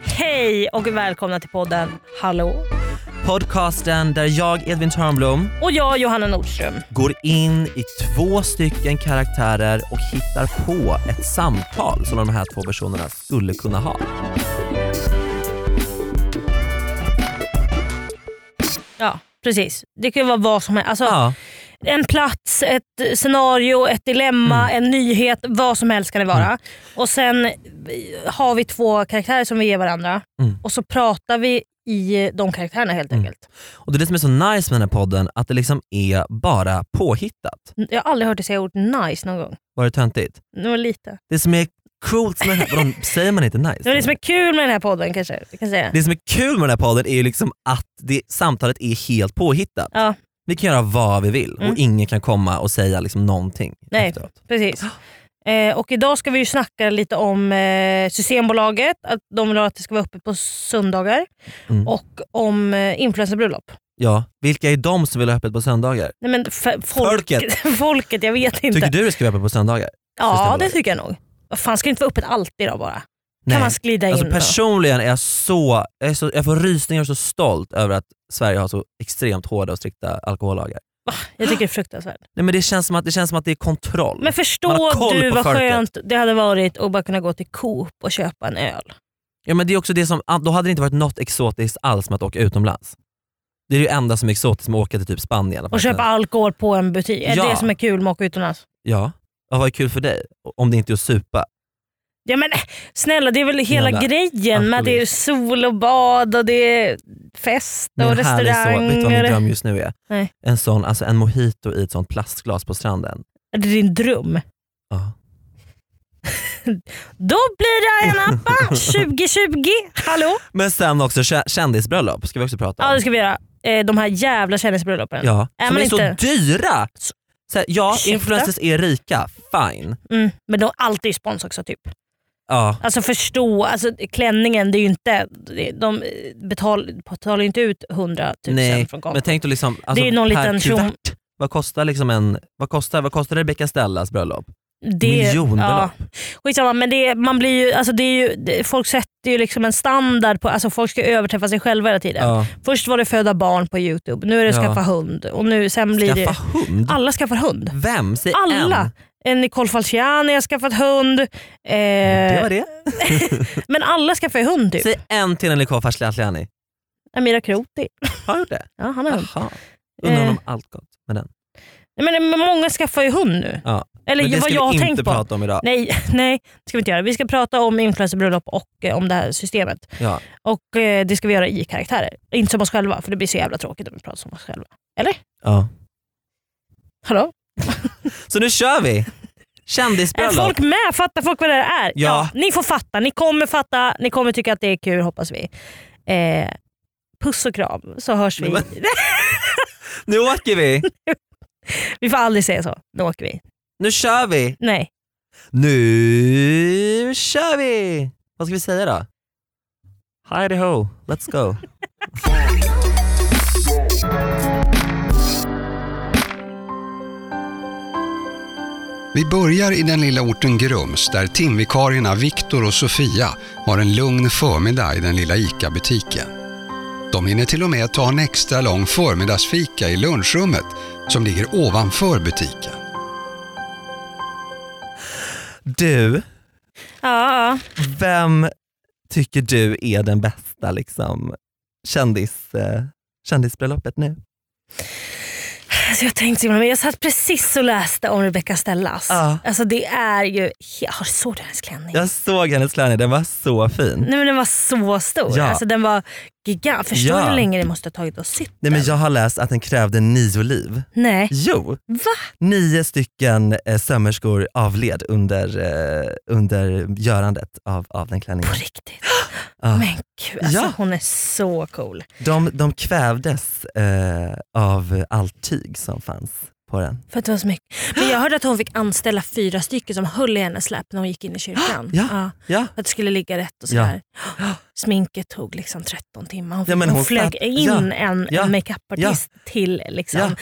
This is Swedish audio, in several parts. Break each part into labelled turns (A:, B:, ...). A: Hej och välkomna till podden Hallå.
B: Podcasten där jag, Edvin Törnblom,
A: Och jag Johanna Nordström.
B: går in i två stycken karaktärer och hittar på ett samtal som de här två personerna skulle kunna ha.
A: Ja, precis. Det kan ju vara vad som helst. Alltså,
B: Ja,
A: En plats, ett scenario, ett dilemma,
B: Mm.
A: en nyhet. Vad som helst kan det vara. Och Sen eh, har vi två karaktärer som vi ger varandra
B: Mm.
A: och så pratar vi i eh, de karaktärerna helt
B: Mm.
A: enkelt.
B: och det är det som är så nice med den här podden, att det liksom är bara påhittat.
A: Jag har aldrig hört dig säga ordet nice någon gång.
B: Var det töntigt?
A: Det var lite.
B: Det som är coolt med den här podden, säger man inte nice?
A: Det var det som är kul med den här podden kanske. Jag kan säga.
B: Det som är kul med den här podden är ju liksom att det, samtalet är helt påhittat.
A: Ja.
B: Vi kan göra vad vi vill
A: Mm.
B: och ingen kan komma och säga liksom någonting
A: Nej.
B: efteråt.
A: Precis. Eh, och idag ska vi ju snacka lite om eh, Systembolaget, att de vill att det ska vara öppet på söndagar.
B: Mm.
A: Och om eh, influencerbröllop.
B: Ja. Vilka är de som vill ha öppet på söndagar?
A: Nej, men f- folk,
B: Folket.
A: folket, jag vet inte.
B: Tycker du det ska vara öppet på söndagar?
A: ja, det
B: Systembolaget?
A: tycker jag nog. Vad fan, ska det inte vara öppet alltid då bara? Kan man glida in
B: Alltså
A: då?
B: personligen är jag så, jag, är så, jag får rysningar och så stolt över att Sverige har så extremt hårda och strikta alkohollagar.
A: Jag tycker det är fruktansvärt.
B: Nej, men det, känns som att, det känns som att det är kontroll.
A: Men
B: Man har
A: förstå
B: koll
A: du
B: på
A: vad
B: folket.
A: skönt det hade varit att bara kunna gå till Coop och köpa en öl.
B: Ja, men det är också det som, ah, då hade det inte varit något exotiskt alls med att åka utomlands. Det är det enda som är exotiskt med att åka till typ Spanien.
A: Och köpa alkohol på en butik. Är
B: Ja.
A: det som är kul med att åka utomlands?
B: Ja. ja, vad är kul för dig? Om det inte är att supa.
A: Ja men äh, snälla det är väl hela
B: Jävla
A: grejen med att det är sol och bad och det är fest
B: Men
A: och
B: en härlig Så, vet du vad min
A: restauranger.
B: dröm just nu är?
A: Nej.
B: En sån, alltså en mojito i ett sånt plastglas på stranden.
A: Är det din dröm?
B: Ja.
A: Då blir det en appa 2020. Hallå?
B: Men sen också kä- kändisbröllop, ska vi också prata om.
A: Ja det ska vi göra. Eh, De här jävla kändisbröllopen.
B: Ja,
A: Är
B: som
A: man
B: är
A: inte-
B: så dyra. Så här, ja,
A: Ursäkta?
B: influencers är rika, fine.
A: Mm. Men de alltid spons också typ.
B: Ja.
A: Alltså förstå, alltså, klänningen det är ju inte, de betal, betalar ju inte ut 100 000
B: Nej,
A: från kontot.
B: Men tänk då liksom, alltså,
A: Det är någon
B: per
A: liten tjom-
B: kuvert, vad kostar, liksom en, vad kostar, vad kostar Rebecca Stellas bröllop?
A: Det-
B: Miljonbelopp.
A: Ja, skitsamma, men det, man blir ju, alltså det är ju, det, folk sätter ju liksom en standard på, alltså folk ska överträffa sig själva hela tiden.
B: Ja.
A: Först var det föda barn på youtube, nu är det
B: Ja.
A: skaffa hund och nu, sen blir det...
B: Skaffa hund?
A: Alla skaffar hund.
B: Vem? Säg en.
A: Alla! En. Nicole Falciani har skaffat hund. Eh,
B: Det var det.
A: Men alla skaffar ju hund typ.
B: Säg en till en Nicole Fashlani.
A: Amira Kroti,
B: Har du det?
A: ja, han har hund.
B: Jaha. Undrar
A: Eh.
B: om allt gott med den.
A: Nej, Men, men många skaffar ju hund nu.
B: Ah. Ja.
A: Eller
B: Men det
A: vad
B: ska
A: jag har
B: vi
A: tänkt
B: inte
A: på.
B: prata om idag.
A: Nej, nej, det ska vi inte göra. Vi ska prata om influencerbröllop och eh, om det här systemet.
B: Ja.
A: Och eh, Det ska vi göra i karaktärer. Inte som oss själva, för det blir så jävla tråkigt om vi pratar som oss själva.
B: Ja.
A: Hallå?
B: Så nu kör vi!
A: Är
B: Kändisbröllop.
A: folk med? Fattar folk vad det här är?
B: Ja.
A: Ni får fatta. Ni kommer fatta. Ni kommer tycka att det är kul, hoppas vi. Eh, puss och kram, så hörs vi.
B: Men- Nu åker vi!
A: vi får aldrig säga så. Nu åker vi.
B: Nu kör vi!
A: Nej.
B: Nu kör vi! Vad ska vi säga då? Heidi ho, let's go.
C: Vi börjar i den lilla orten Grums där timvikarierna Viktor och Sofia har en lugn förmiddag i den lilla ICA-butiken. De hinner till och med ta en extra lång förmiddagsfika i lunchrummet som ligger ovanför butiken.
B: Du,
A: Ja, ja.
B: vem tycker du är den bästa liksom, kändis, eh, kändisbröllopet nu?
A: alltså, jag tänkte så himla mycket. Jag satt precis och läste om Rebecca Stellas.
B: Ja.
A: Alltså, det är ju... Jag har såg du hennes klänning?
B: Jag såg hennes klänning, den var så fin.
A: Nej, men den var så stor.
B: Ja.
A: Alltså, den var gigant. Förstår
B: Ja.
A: du hur länge det måste ha tagit att sitta?
B: Nej, men jag har läst att den krävde nio liv.
A: Nej.
B: Jo,
A: Va?
B: nio stycken eh, sömmerskor avled under, eh, under görandet av, av den klänningen.
A: På riktigt?
B: Ja.
A: Men gud, alltså,
B: Ah. Ja.
A: hon är så cool.
B: De, de kvävdes eh, av allt tyg som fanns på den.
A: För att det var så mycket. Men jag hörde att hon fick anställa fyra stycken som höll i hennes släp när hon gick in i kyrkan.
B: Ja. Ja.
A: Att det skulle ligga rätt och sådär. Sminket tog liksom 13 timmar. Hon,
B: Ja, men
A: hon,
B: hon
A: flög
B: satt-
A: in
B: ja.
A: en
B: Ja.
A: makeupartist till, liksom,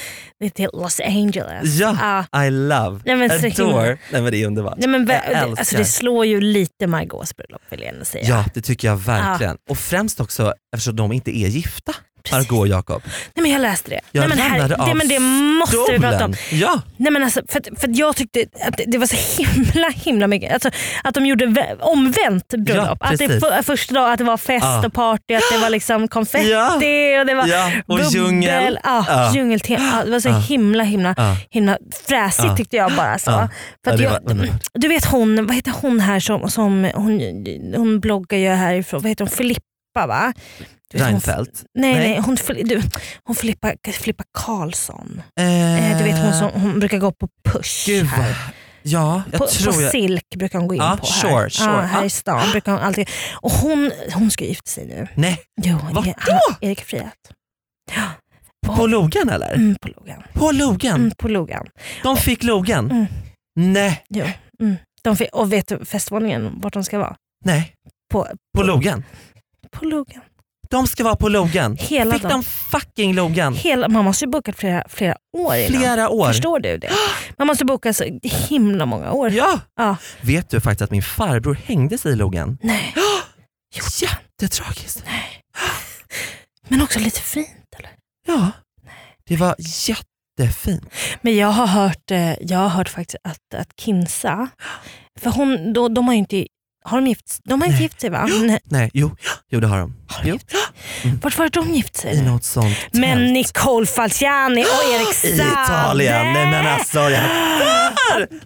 A: till Los Angeles.
B: Ja, I love,
A: Alltså, Nej, men så himla-
B: adore. Nej men det är underbart.
A: Nej, men, vä-
B: Jag
A: det- alltså,
B: älskar.
A: det slår ju lite Margaux bröllop vill jag ändå säga.
B: Ja det tycker jag verkligen. Och främst också eftersom de inte är gifta, Margot och Jakob.
A: Nej, men jag läste det.
B: Jag
A: Nej, men
B: ramlade av
A: det, men det måste vi prata om.
B: Stolen. Ja,
A: Nej, men alltså, för, att- för att jag tyckte att det, det var så himla himla mycket. Alltså, att de gjorde vä- omvänt bröllop.
B: Ja,
A: att det
B: precis.
A: för, första dagen att det var fest
B: Ja.
A: och party, att det var liksom konfetti
B: Ja.
A: och det var
B: Ja, och
A: bubbel.
B: djungel.
A: Ja,
B: Ja.
A: djungeltema. Ja, det var så
B: Ja.
A: himla himla
B: Ja.
A: himla fräsigt
B: Ja.
A: tyckte jag bara. Så.
B: Ja.
A: För
B: Ja,
A: att
B: det
A: jag, Mm,
B: var underbart.
A: du vet hon, vad heter hon här som, som hon, hon bloggar ju härifrån, vad heter hon, Filippa va? Du vet, hon-
B: Reinfeldt.
A: Nej,
B: Nej.
A: nej. hon, Fili- du, hon Filippa, Filippa Karlsson. Eh,
B: Eh,
A: Du vet hon som hon brukar gå på push
B: Gud vad...
A: här.
B: Ja, jag
A: På,
B: tror
A: på
B: jag...
A: Silk brukar hon gå in
B: Ja,
A: på här.
B: sure, sure. Ah.
A: Ja, här
B: Ja.
A: i stan brukar hon alltid... Och hon, hon ska gifta sig nu.
B: Nej,
A: Jo,
B: Vart
A: Erik-
B: då?
A: Erik Friat. Ja.
B: på logan eller?
A: Mm, på logan.
B: På logan?
A: Mm, på logan.
B: De fick logan?
A: Mm.
B: Nej,
A: Jo. Mm. De, fi- och vet du festvåningen vart de ska vara?
B: nej.
A: På,
B: På logan?
A: på logan.
B: De ska vara på logan.
A: Hela
B: Fick
A: dagen.
B: de fucking logan?
A: Hela, man måste ju bokat flera, flera år innan.
B: Flera år.
A: Förstår du det? Man måste boka så himla många år.
B: Ja.
A: Ja.
B: Vet du faktiskt att min farbror hängde sig i logan?
A: Nej.
B: Jättetragiskt.
A: Men också lite fint eller?
B: Ja, det var jättefint.
A: Men jag har hört, eh, jag har hört faktiskt att, att Kinsa, för hon, då, de har ju inte, har de gift, de har inte
B: Nej.
A: gift sig va? Nej.
B: Nej, jo, jo det har de.
A: Har de
B: Jo.
A: gift sig? Vart var de gift sig?
B: I
A: nu?
B: något sånt tält.
A: Men Nicole Falciani och Erik
B: I
A: Saade.
B: Italien. Nej men alltså. Jag...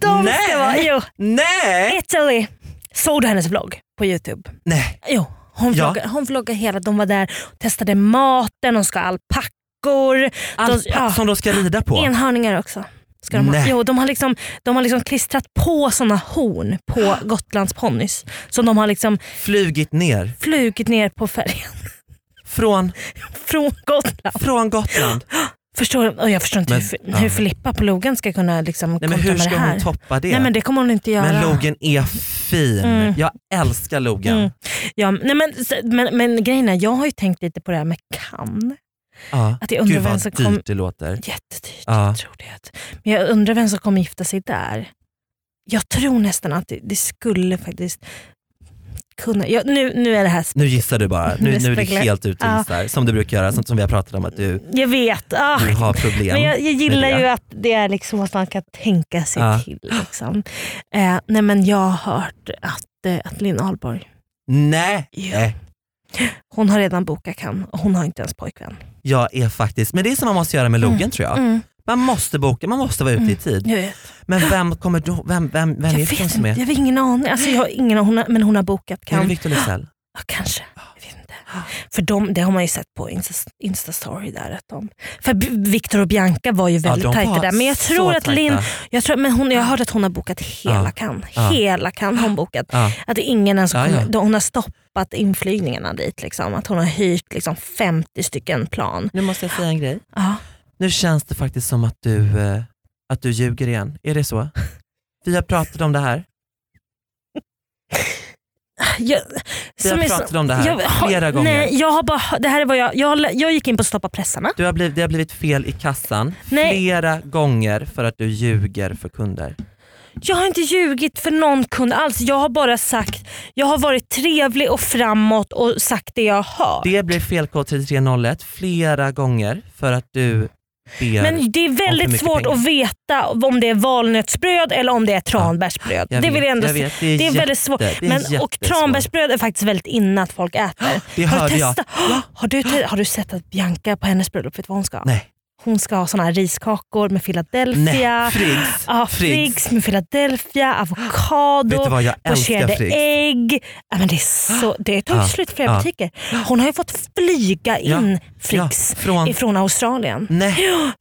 A: De
B: Nej. Eh.
A: ska vara, jo,
B: Nej!
A: Italy. Såg du hennes vlogg på Youtube?
B: Nej.
A: Jo, hon,
B: Ja.
A: vloggar, hon vloggar hela, de var där och testade maten, de ska ha alpackor.
B: Allt
A: de, ja.
B: som de ska rida på.
A: Enhörningar också. Ska de, ha.
B: Nej.
A: Jo, de, har liksom, de har liksom klistrat på såna horn på Gotlandsponnys som de har liksom
B: Flugit ner
A: flugit ner på färjan
B: från,
A: från Gotland.
B: från Gotland.
A: Förstår du? Och jag förstår inte
B: Men-
A: hur,
B: ja.
A: hur Filippa på logan ska kunna liksom
B: Nej, men
A: kontra
B: hur
A: med
B: ska
A: det här.
B: hon toppa det?
A: Nej men det kommer hon inte göra.
B: Men logen är fin.
A: Mm.
B: Jag älskar logen.
A: Mm. Ja, nej men, men, men grejen är, jag har ju tänkt lite på det här med kan.
B: Ja.
A: Att jag undrar
B: Gud
A: vem
B: vad
A: som
B: dyrt
A: kom-
B: det låter.
A: Jättedyrt,
B: Ja.
A: jag tror det. Men jag undrar vem som kommer gifta sig där. Jag tror nästan att det, det skulle faktiskt kunna... Jag, nu, nu är det här... sp-
B: Nu gissar du bara.
A: Nu
B: Nu, nu är du
A: spekulerar-
B: helt ute och
A: Ja.
B: gissar. Som du brukar göra, sånt som vi har pratat om att du,
A: Jag vet. Ah.
B: du har problem.
A: Men jag, jag gillar
B: med det.
A: ju att det är liksom att man kan tänka sig
B: Ja.
A: till. Liksom. Eh, nej men jag har hört att, eh, att Linn Ahlborg,
B: Nej!
A: Ja. hon har redan bokat kan och hon har inte ens pojkvän.
B: Jag är faktiskt, men det är som man måste göra med logen tror jag.
A: Mm,
B: Man måste boka, man måste vara ute i tid.
A: jag vet.
B: Men vem kommer då, vem, vem, vem
A: Jag
B: är det
A: vet
B: som
A: inte,
B: är?
A: jag har ingen aning. Alltså, jag har ingen, hon har, men hon har bokat
B: Är det
A: kan.
B: Victor Leksell?
A: Ja, kanske.
B: Ah.
A: Jag vet inte. För de, det har man ju sett på Insta- Instastory där. Att de, för B- Victor och Bianca var ju väldigt
B: de
A: tajta
B: var
A: där. Men jag
B: så
A: tror att
B: tajta. Ah.
A: Linn, jag, tror, men hon, jag har hört att hon har bokat hela
B: Ja.
A: kan.
B: Ja.
A: Hela kan har hon bokat.
B: Ja.
A: Att det är ingen ens
B: Ah. Ja,
A: kommer,
B: ja.
A: då Hon har stoppat inflygningarna dit. Liksom. Att hon har hyrt liksom 50 stycken plan.
B: Nu måste jag säga en grej.
A: Ja.
B: Nu känns det faktiskt som att du, eh, att du ljuger igen. Är det så? Vi har pratat om det här.
A: Jag,
B: Vi har
A: som är
B: pratat
A: så-
B: om det här
A: har-
B: flera gånger.
A: Nej, jag, har bara, det här är vad jag, jag, har- jag gick in på stoppa pressarna.
B: Du har blivit, det har blivit fel i kassan
A: Nej.
B: flera gånger för att du ljuger för kunder.
A: Jag har inte ljugit för någon kund alls. Jag har bara sagt, jag har varit trevlig och framåt och sagt det jag har.
B: Det blir felkod 3301 flera gånger för att du ber.
A: men det är
B: för
A: väldigt
B: mycket
A: svårt
B: pengar.
A: att veta om det är valnötsbröd eller om det är tranbärsbröd.
B: Jag
A: det
B: vet,
A: vill jag ändå
B: jag
A: säga.
B: vet, det är,
A: Det är
B: jätte-
A: väldigt svårt.
B: det är
A: Men, och
B: jättesvårt.
A: tranbärsbröd är faktiskt väldigt inne att folk äter.
B: Det
A: Har du,
B: hörde jag.
A: testat? Har, du, te- har du sett att Bianca på hennes bröllop, vet du vad hon ska ha?
B: Nej,
A: Hon ska ha såna här riskakor med
B: nej.
A: Philadelphia.
B: Friggs.
A: Ja,
B: Friggs.
A: Friggs med Philadelphia, avokado.
B: Vet du vad jag älskar
A: pocherade
B: Friggs?
A: ägg. Ja, men det, är så, det tog
B: Ja,
A: slut flera
B: ja.
A: butiker. Hon har ju fått flyga in Friggs
B: Ja, från...
A: ifrån Australien.
B: Nej,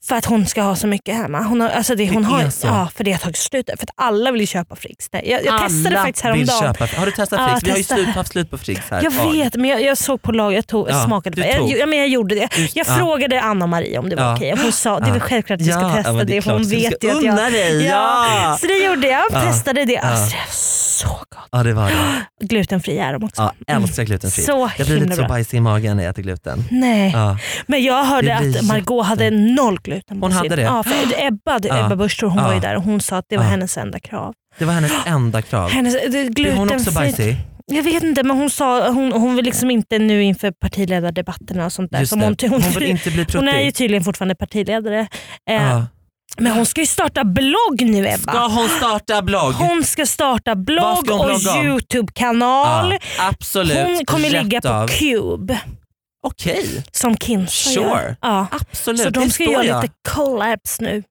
A: För att hon ska ha så mycket hemma. Hon har, alltså det,
B: Det
A: hon har,
B: är så.
A: ja, för det har tagit slut. För att alla vill ju köpa Friggs. Nej, Jag, jag testade
B: alla
A: faktiskt
B: vill
A: häromdagen.
B: köpa. Har du testat
A: Ja,
B: Friggs? Vi har ju
A: testa.
B: slut, haft slut på Friggs här.
A: Jag
B: Ja.
A: vet men jag, jag såg på lag, jag, tog, jag
B: Ja,
A: smakade
B: du
A: på. Jag,
B: tog.
A: jag, men jag gjorde det.
B: Du-
A: Jag
B: ja.
A: frågade Anna-Marie om det var
B: Ja,
A: okej mig. Hon sa det är väl självklart att vi ska
B: Ja,
A: testa
B: ja, men det
A: det,
B: är
A: för hon
B: klart. Så vi
A: vet
B: ska
A: ju att jag...
B: unna dig, ja.
A: Så det gjorde jag.
B: Ja.
A: Testade det.
B: Ja.
A: Alltså, det är så gott.
B: Ja det var det.
A: Glutenfri är de också.
B: Ja, älskar glutenfri.
A: Mm. Så
B: jag blir
A: himla
B: lite så
A: bra.
B: bajsig i magen när jag äter gluten.
A: Nej.
B: Ja.
A: Men jag hörde
B: Det blir
A: att Margot hade noll gluten på
B: Hon
A: sin.
B: hade det?
A: Ja, för Ebba,
B: Ja.
A: Ebba Busch Thor, hon
B: Ja.
A: var ju där och hon sa att det var
B: Ja.
A: hennes enda krav.
B: Det var hennes enda krav.
A: Hennes, det,
B: Är
A: glutenfritt.
B: hon också bajsig?
A: Jag vet inte men hon sa hon, hon vill liksom inte nu inför partiledardebatterna och sånt där.
B: Just
A: Som
B: det.
A: hon, hon,
B: Hon vill inte bli
A: hon är ju
B: pruttig.
A: tydligen fortfarande partiledare. Eh,
B: Ja.
A: Men hon ska ju starta blogg nu Ebba.
B: Ska hon starta blogg?
A: Hon ska starta blogg
B: Vad ska hon blogga
A: och
B: om?
A: Youtube-kanal.
B: Ja, absolut.
A: Hon kommer
B: Rätt
A: ligga på
B: av.
A: Cube
B: Okej,
A: som Kinsa gör.
B: Sure.
A: Ja.
B: absolut.
A: Så de
B: det
A: ska
B: står
A: göra
B: jag.
A: lite collabs nu.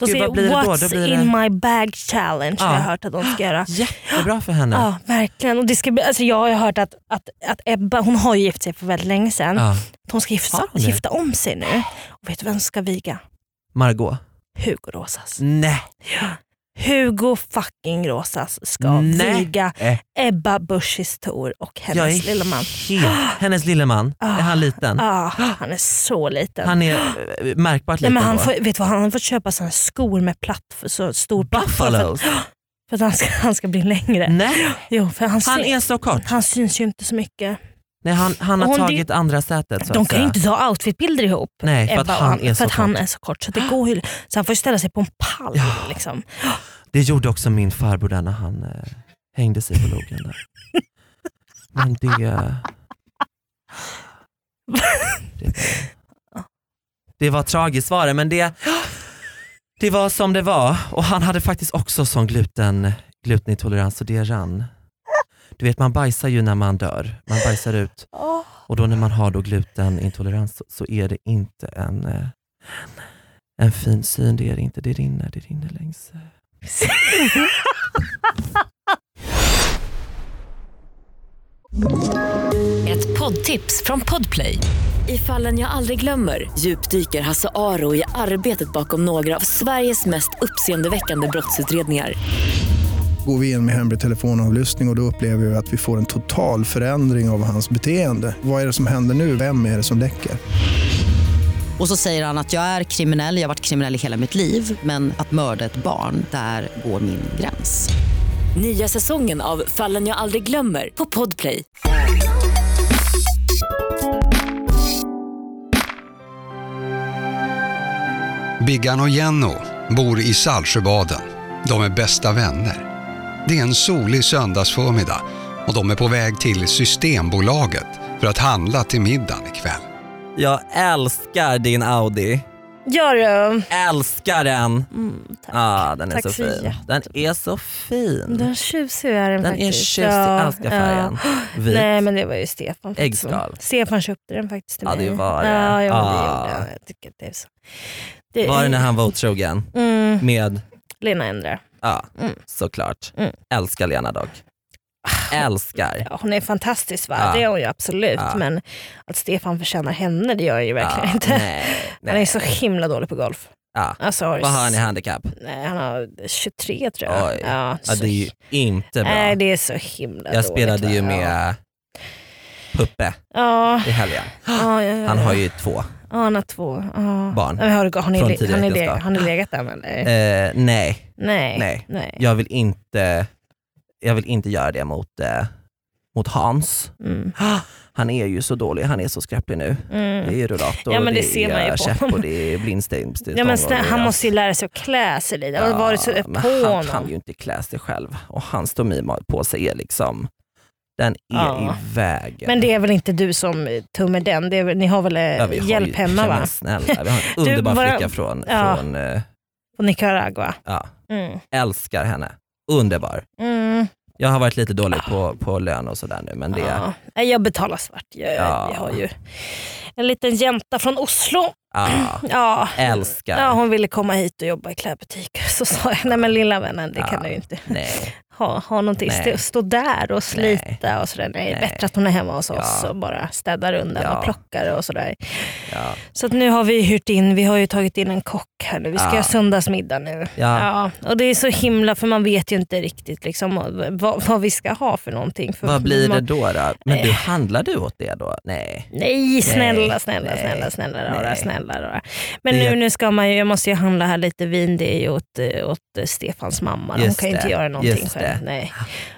A: De
B: Gud,
A: ska
B: vad blir det då?
A: What's
B: Då blir det-
A: in my bag challenge har
B: Ja.
A: jag hört att de ska göra.
B: Jättebra för henne.
A: Ja, verkligen. Och det ska bli, alltså jag har ju hört att, att, att Ebba, hon har ju gift sig för väldigt länge sedan.
B: Ja.
A: Att Hon ska gifta,
B: Har hon det?
A: gifta om sig nu. Och vet du vem som ska viga?
B: Margot.
A: Hugo Rosas.
B: Nej.
A: Hugo fucking Rosas ska
B: Nej.
A: viga
B: Eh,
A: Ebba Buschis Thor och
B: jag
A: hennes
B: är
A: lilla man.
B: Helt. Hennes lille man.
A: Ah.
B: Är han liten?
A: Ah, han är så liten.
B: Han är eh, märkbart
A: Nej,
B: liten
A: men han
B: då.
A: får, vet du vad, han har fått köpa såna här skor med platt, så stor plattform för, att-
B: Buffaloes.
A: för att han ska, han ska bli längre.
B: Nej,
A: Jo, för han,
B: Mm. han
A: syn-
B: är så kort.
A: han syns ju inte så mycket.
B: Nej, han, han har
A: Hon-
B: tagit andra sätet så
A: De
B: att
A: kan ju
B: säga.
A: inte ta outfitbilder ihop.
B: Nej, för att
A: Ebba och
B: han är
A: för
B: så
A: att han
B: kort. Ah.
A: är så kort. Så, det går ju, så han får ju ställa sig på en pall. Liksom.
B: Det gjorde också min farbror där när han eh, hängde sig på logen där. Men det... Det, det var tragiskt var det, men det, det var som det var. Och han hade faktiskt också sån gluten, glutenintolerans och det rann. Du vet man bajsar ju när man dör, man bajsar ut. Och då när man har då glutenintolerans så, så är det inte en, eh, en fin syn, det är det inte. Det rinner, det rinner längs eh,
D: Ett poddtips från Podplay. I fallen jag aldrig glömmer djupdyker Hasse Aro i arbetet bakom några av Sveriges mest uppseendeväckande brottsutredningar.
E: går vi in med hemlig telefonavlyssning och, och då upplever vi att vi får en total förändring av hans beteende. Vad är det som händer nu? Vem är det som läcker?
F: Och så säger han att jag är kriminell, jag har varit kriminell i hela mitt liv men att mörda ett barn, där går min gräns.
D: Nya säsongen av Fallen jag aldrig glömmer på Podplay.
C: Biggan och Jenno bor i Saltsjöbaden. De är bästa vänner. Det är en solig söndagsförmiddag och de är på väg till Systembolaget för att handla till middagen ikväll.
B: Jag älskar din Audi.
A: Gör det.
B: Älskar den.
A: Mm, tack.
B: ah, den är
A: Tack
B: så
A: för
B: fin.
A: hjärtat.
B: Den är så fin.
A: Den är tjusig är den,
B: Den är
A: faktiskt.
B: tjusig.
A: Ja,
B: Älskar färgen. Vit.
A: Nej men det var ju Stefan. faktiskt som-
B: Äggskal.
A: Stefan köpte den faktiskt till
B: Ja,
A: mig.
B: det var det.
A: Ja, ja, men det
B: Ah.
A: gjorde han. Jag tycker att det är så. Det,
B: Var det när han var otrogen?
A: mm,
B: Med,
A: Lena ändrar.
B: ja
A: Mm.
B: såklart.
A: Mm.
B: Älskar Lena dock. Älskar.
A: Ja, hon är fantastisk va?
B: Ja.
A: Det är hon ju absolut.
B: Ja.
A: Men att Stefan förtjänar henne det gör jag ju verkligen
B: Ah,
A: inte.
B: nej,
A: Han är
B: nej.
A: så himla dålig på golf.
B: Ja.
A: Alltså,
B: Vad har han i handikapp?
A: Nej, han har 23 tror jag.
B: Oj.
A: Ja,
B: Ja,
A: så
B: det är ju
A: hi-
B: inte bra.
A: Nej, det är så himla
B: Jag
A: dåligt,
B: spelade
A: va?
B: ju
A: liksom. Ja.
B: med Puppe
A: Ja.
B: i helgen.
A: Ja, ja, ja,
B: Han
A: ja.
B: har ju två.
A: Ja, han har två ja.
B: Barn.
A: Nej, men har du, har, ni,
B: Från
A: le-
B: tidiga
A: har, ni le,
B: äktenskap.
A: har ni legat där eller?
B: Eh, nej,
A: nej.
B: nej.
A: nej.
B: jag vill inte, jag vill inte göra det mot, eh, mot Hans.
A: Mm.
B: Han är ju så dålig, han är så skräplig nu. Det
A: Mm.
B: är rullator,
A: Ja, men det
B: det,
A: ser man ju
B: är
A: på
B: eh, käpp
A: honom.
B: och det är blindstängsel.
A: Ja, men snä- han måste ju lära sig att klä sig lite. Ja, varit så på
B: men han kan
A: honom.
B: ju inte klä sig själv och hans stomi på sig är liksom, den är
A: Ja.
B: i vägen.
A: Men det är väl inte du som eh, tummer den? Det är, väl- ni har väl eh,
B: Ja, vi har
A: hjälp
B: ju,
A: hemma
B: ja,
A: va?
B: Men snälla, vi har en underbar
A: bara-
B: flicka från,
A: ja.
B: från eh,
A: På Nicaragua?
B: ja,
A: Mm.
B: älskar henne. Underbar.
A: Mm.
B: Jag har varit lite dålig på, på lön och sådär nu men det,
A: Ja. Nej, Jag betalar svart. Jag,
B: Ja.
A: jag har ju en liten jänta från Oslo.
B: ja,
A: Ja.
B: älskar.
A: Ja, hon ville komma hit och jobba i klädbutik. Så sa jag, nej men lilla vännen det kan du ju inte.
B: Nej.
A: ha, ha någonting,
B: Nej.
A: stå, stå där och slita och sådär. Nej,
B: Nej.
A: bättre att hon är hemma hos oss
B: Ja.
A: och bara städar undan
B: Ja.
A: och plockar och sådär.
B: Ja.
A: Så att nu har vi hyrt in, vi har ju tagit in en kock här nu. Vi ska
B: Ja.
A: göra söndagsmiddag nu.
B: Ja.
A: Ja, och det är så himla, för man vet ju inte riktigt liksom, vad, vad vi ska ha för någonting. För
B: Vad blir det
A: man-
B: då? då? Men du,
A: Nej.
B: handlar du åt det då? Nej.
A: Nej, snälla, snälla,
B: nej,
A: snälla, snälla rara,
B: nej.
A: snälla rara. Men
B: Det-
A: nu, nu ska man ju, jag måste ju handla här lite vin, det är ju åt, eh, åt eh, Stefans mamma. Hon
B: Just
A: kan ju inte
B: det,
A: göra någonting
B: just
A: själv.
B: det.
A: Nej.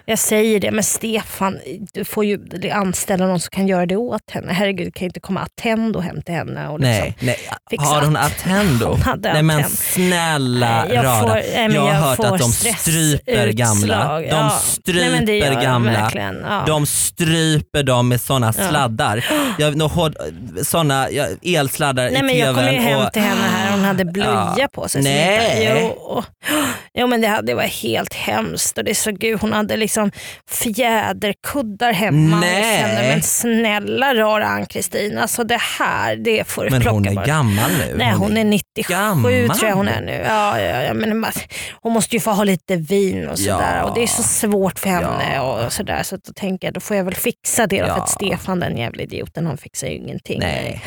A: Jag säger det, men Stefan, du får ju anställa någon som kan göra det åt henne. Herregud, kan ju inte komma Attendo hem till henne. Och liksom.
B: Nej, nej.
A: fixat.
B: Har hon Attendo?
A: Hon hade
B: Nej men
A: Attendo.
B: snälla
A: Nej, jag
B: rara.
A: får- nej, men
B: jag har
A: jag
B: hört
A: får
B: att de
A: stress-
B: stryper gamla.
A: utslag.
B: De
A: Ja. Nej,
B: stryper
A: men det gör de
B: gamla.
A: verkligen, ja.
B: De stryper dem med sådana
A: Ja.
B: sladdar. Jag, nå- hård- såna ja, elsladdar
A: Nej,
B: i
A: men
B: tvn.
A: jag kom ju hem
B: och,
A: till henne här hon hade blöja
B: Ja.
A: på sig.
B: Nej.
A: Så jag- Jo, jo men det, hade, det var helt hemskt. Och det såg ut, hon hade liksom fjäderkuddar hemma
B: Nej.
A: hos henne. Men snälla rara Ann-Kristin, alltså det här det får du
B: men
A: plocka
B: hon
A: bara.
B: är gammal nu.
A: Nej hon är 97
B: gammal.
A: tror jag hon är nu. Ja, ja, ja, men man- hon måste ju få ha lite vin och sådär.
B: Ja.
A: Och det är så svårt för henne.
B: Ja.
A: Och sådär. Så att då tänker jag då får jag väl fixa det då, för
B: Ja.
A: att Stefan den jävla idioten han fixar ju ingenting.
B: Nej.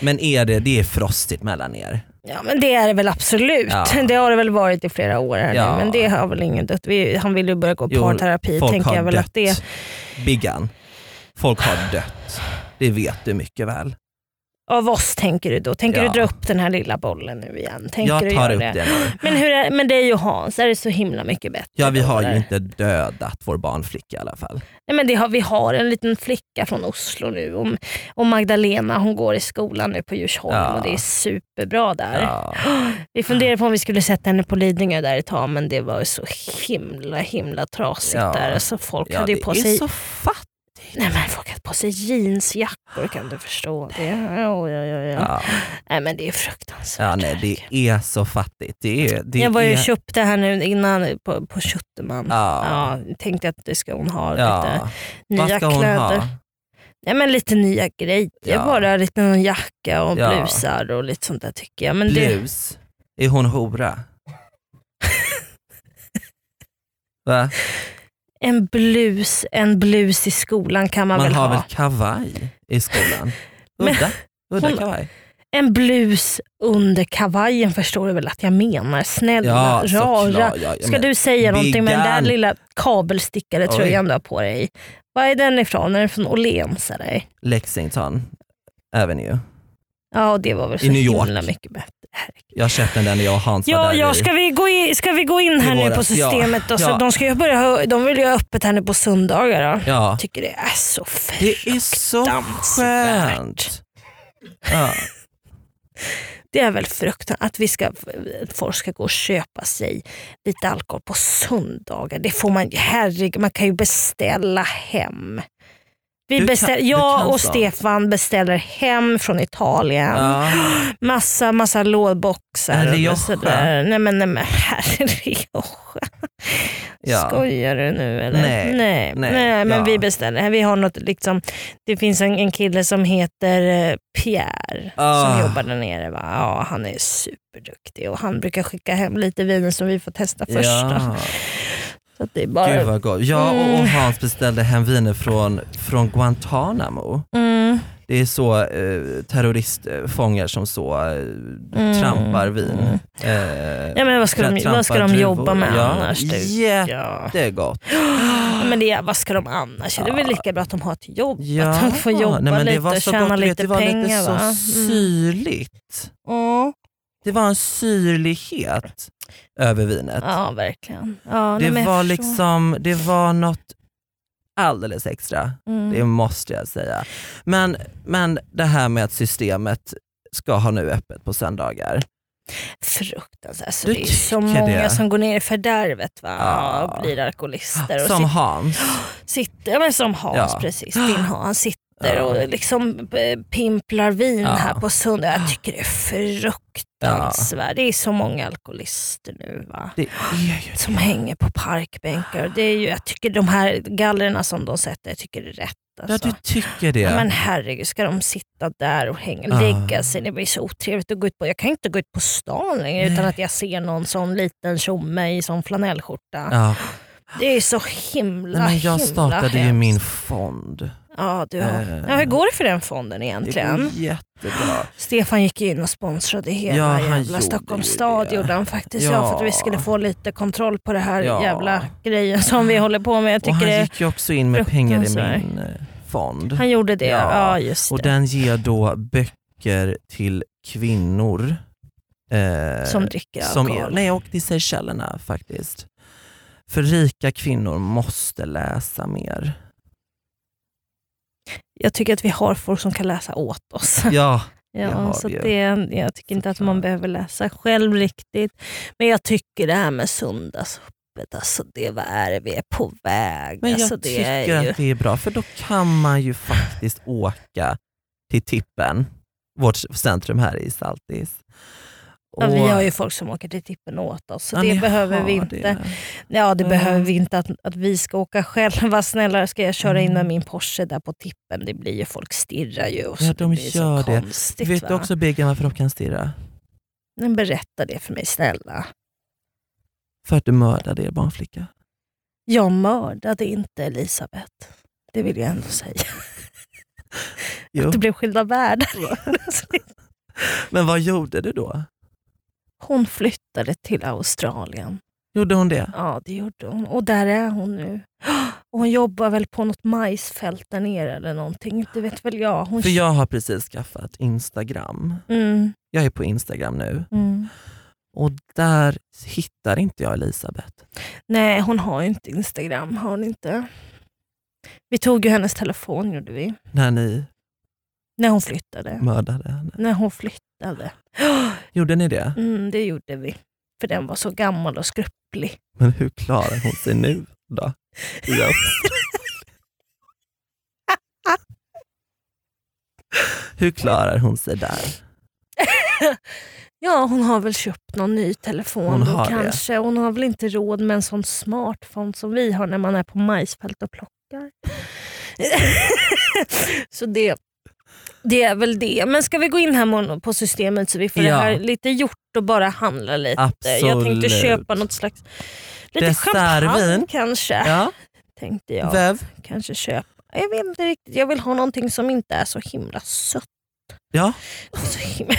B: Men är det, det är frostigt mellan er?
A: Ja men det är det väl absolut.
B: Ja.
A: Det har det väl varit i flera år här
B: Ja.
A: nu. Men det har väl ingen dött. Vi, han vill ju börja gå
B: Jo,
A: parterapi
B: folk
A: tänker
B: har
A: jag väl
B: dött.
A: att det
B: Biggan, folk har dött. Det vet du mycket väl.
A: Av oss tänker du då? Tänker
B: Ja.
A: du dra upp den här lilla bollen nu igen? Tänker
B: jag
A: du
B: tar
A: göra
B: upp det, nu.
A: Men, hur är, men det är ju Hans, är det så himla mycket bättre?
B: Ja, vi
A: då,
B: har ju
A: eller?
B: inte dödat vår barnflicka i alla fall.
A: Nej, men det har, vi har en liten flicka från Oslo nu och, och Magdalena hon går i skolan nu på Djursholm
B: Ja.
A: och det är superbra där.
B: Ja.
A: Vi funderade på om vi skulle sätta henne på Lidingö där ett tag men det var ju så himla himla trasigt
B: Ja.
A: där. Alltså, folk
B: Ja,
A: hade
B: det
A: ju på
B: är
A: sig
B: så fattigt.
A: Nej men folk har på sig jeansjackor kan du förstå. Det, ja, ja, ja, ja.
B: Ja.
A: Nej men det är fruktansvärt.
B: Ja, nej,
A: herregud.
B: det är så fattigt. Det är, det
A: jag var ju
B: är,
A: och köpte här nu innan på, på Schutterman.
B: Ja.
A: Ja, tänkte att det ska hon ha lite
B: Ja. Vad
A: nya
B: ska hon
A: kläder.
B: ha?
A: Nej men lite nya grejer.
B: Ja.
A: Bara lite någon jacka och
B: Ja.
A: blusar och lite sånt där tycker jag. Men det,
B: Blus? Är hon hora? Va?
A: en, blus, en blus i skolan kan man,
B: Man
A: väl
B: har
A: ha.
B: väl kavaj i skolan? Udda, udda
A: hon-
B: kavaj.
A: En blus under kavajen förstår du väl att jag menar. Snälla, rara.
B: såklart. Ja, ja,
A: Ska
B: men-
A: du säga någonting med den där
B: Biggan.
A: lilla kabelstickade
B: Oj.
A: tröjan du har på dig? Var är den ifrån? Är den från Åhléns eller?
B: Lexington Avenue.
A: Ja, och det var väl så
B: I New York.
A: himla mycket bättre. Herregud.
B: Jag köpte den när jag och Hans var
A: Ja,
B: där
A: ja
B: i.
A: ska, vi gå in, ska vi gå in här nu på
B: våras. Ja,
A: systemet? Då? Så
B: ja.
A: de, ska ju börja, ha- de vill ju ha öppet här nu på söndagar. Då.
B: Ja.
A: Jag tycker det är så fint.
B: Det är så
A: Fruktansvärt.
B: skönt. Ja.
A: Det är väl fruktansvärt att vi ska, att folk ska gå och köpa sig lite alkohol på söndagar. Det får man, herregud, man kan ju beställa hem. Vi
B: Du kan-
A: beställ,
B: du
A: jag
B: kan
A: och
B: sånt.
A: Stefan beställer hem från Italien.
B: Ja.
A: Massa, massa lådboxar. och
B: Rioja.
A: sådär. Nej men, nej, men herre Rioja.
B: Ja.
A: Skojar du nu eller?
B: Nej,
A: nej,
B: nej,
A: nej, men
B: ja.
A: vi beställer. hem. Vi har något, liksom, det finns en, en kille som heter eh, Pierre
B: Ah.
A: som jobbar där nere. Va? Ja, han är superduktig och han brukar skicka hem lite viner som vi får testa först. då.
B: Ja.
A: Så att det är bara...
B: Gud vad gott. Jag och,
A: Mm.
B: och Hans beställde hem viner från, från Guantanamo.
A: Mm,
B: Det är så eh, terroristfångar som så eh,
A: mm.
B: trampar vin. Eh,
A: Ja, men vad ska de-
B: trampar
A: vad ska de
B: druvor.
A: jobba med
B: ja.
A: annars, du?
B: Jättegott.
A: Ja. Ja, Men det, är- vad ska de annars göra? Det är väl lika bra att de har ett jobb.
B: Ja.
A: Att de får jobba
B: Nej, men det
A: lite
B: var
A: och
B: så
A: tjäna
B: gott,
A: lite
B: vet, du, det var
A: pengar.
B: lite så
A: va? Mm.
B: syrligt.
A: Ja.
B: Det var en syrlighet över vinet.
A: Ja, verkligen. Ja, nej,
B: det
A: men jag
B: var
A: förstår.
B: liksom, det var något alldeles extra.
A: Mm.
B: Det måste jag säga. Men, men det här med att systemet ska ha nu öppet på söndagar.
A: Fruktansvärt. Alltså,
B: Du
A: det är så
B: tycker
A: många
B: det?
A: som går ner i fördärvet va?
B: Ja.
A: och blir alkoholister. Och
B: Som
A: sit-
B: Hans.
A: sitter, ja, men som Hans,
B: Ja.
A: precis. Din Hans. Han sitter
B: Ja.
A: och liksom eh, pimplar vin
B: Ja.
A: här på söndag. Jag tycker det är fruktansvärt. Det är så många alkoholister nu va?
B: Det är ju alltså.
A: som hänger på parkbänkar. Och Det är ju, jag tycker de här gallerna som de sätter, jag tycker det är rätt.
B: Ja
A: Alltså.
B: du tycker det.
A: Ja, men herregud, ska de sitta där och hänga,
B: Ja.
A: lägga sig? Det blir så otrevligt att gå ut på. Jag kan inte gå ut på stan längre utan att jag ser någon sån liten tjomme i sån flanellskjorta.
B: ja.
A: Det är så himla,
B: Nej, men jag
A: himla
B: startade ju
A: hemskt.
B: min fond.
A: Ja, du har...
B: Eh.
A: ja, hur går det för den fonden egentligen?
B: Det går jättebra.
A: Stefan gick ju in och sponsrade hela
B: Ja, han
A: jävla
B: gjorde
A: Stockholms
B: ju
A: stad
B: det.
A: gjorde han faktiskt. Ja.
B: Ja.
A: för att vi skulle få lite kontroll på det här
B: Ja.
A: jävla grejen som vi håller på med. Jag
B: Och
A: tycker
B: han
A: det,
B: gick ju också in med pengar i
A: fruktansvärt.
B: min eh, fond.
A: han gjorde det. Ja,
B: Ja.
A: just det.
B: Och den ger då böcker till kvinnor. eh,
A: som dricker
B: som
A: alkohol.
B: är, nej, och till Seychellerna faktiskt. För rika kvinnor måste läsa mer.
A: Jag tycker att vi har folk som kan läsa åt oss.
B: Ja, det
A: Ja,
B: har
A: så
B: vi ju.
A: det, är- jag tycker inte att man
B: Såklart.
A: behöver läsa själv riktigt. Men jag tycker det här med söndagsöppet, alltså det, vad är det vi är på väg?
B: men jag
A: alltså, det
B: tycker
A: är ju...
B: att det är bra för då kan man ju faktiskt åka till Tippen, vårt centrum här i Saltis.
A: Ja, vi
B: Och-
A: har ju folk som åker till tippen åt oss, så
B: Ja,
A: det
B: ni
A: behöver
B: har
A: vi inte.
B: det.
A: Ja, det
B: Mm.
A: behöver vi inte att, att vi ska åka själva. Snälla, ska jag köra in med
B: Mm.
A: min Porsche där på tippen? Det blir ju, folk stirrar ju och
B: Ja,
A: så
B: de
A: det blir
B: gör
A: så
B: det.
A: konstigt.
B: Vet
A: va?
B: du också Birger varför de kan stirra?
A: Men berätta det för mig, snälla.
B: För att du mördade er barnflicka.
A: Jag mördade inte Elisabeth. Det vill jag ändå säga.
B: Jo.
A: Det blev skilda världar.
B: Men vad gjorde du då?
A: Hon flyttade till Australien.
B: Gjorde hon det?
A: Ja, det gjorde hon. Och där är hon nu. Och hon jobbar väl på något majsfält där nere eller någonting. Inte vet väl jag. Hon...
B: För jag har precis skaffat Instagram.
A: Mm,
B: Jag är på Instagram nu
A: mm.
B: och där hittar inte jag Elisabeth.
A: Nej, hon har ju inte Instagram. Har hon inte. Vi tog ju hennes telefon gjorde vi.
B: När ni
A: När hon flyttade.
B: mördade henne.
A: När hon flyttade.
B: Gjorde ni det?
A: Mm, det gjorde vi. För den var så gammal och skrupplig.
B: Men hur klarar hon sig nu då? Ja. Hur klarar hon sig där?
A: Ja, hon har väl köpt någon ny telefon
B: Hon
A: då
B: har det.
A: kanske. Hon har väl inte råd med en sån smartphone som vi har när man är på majsfält och plockar. så det, det är väl det. Men ska vi gå in här morgon på systemet så vi får det
B: Ja.
A: här lite gjort och bara handla lite.
B: Absolut.
A: Jag tänkte köpa något slags lite
B: Dessertvin.
A: champagne kanske.
B: Ja,
A: Tänkte jag
B: Vev?
A: kanske köpa. Jag vet inte riktigt. Jag vill ha någonting som inte är så himla sött.
B: Ja.
A: Så himla...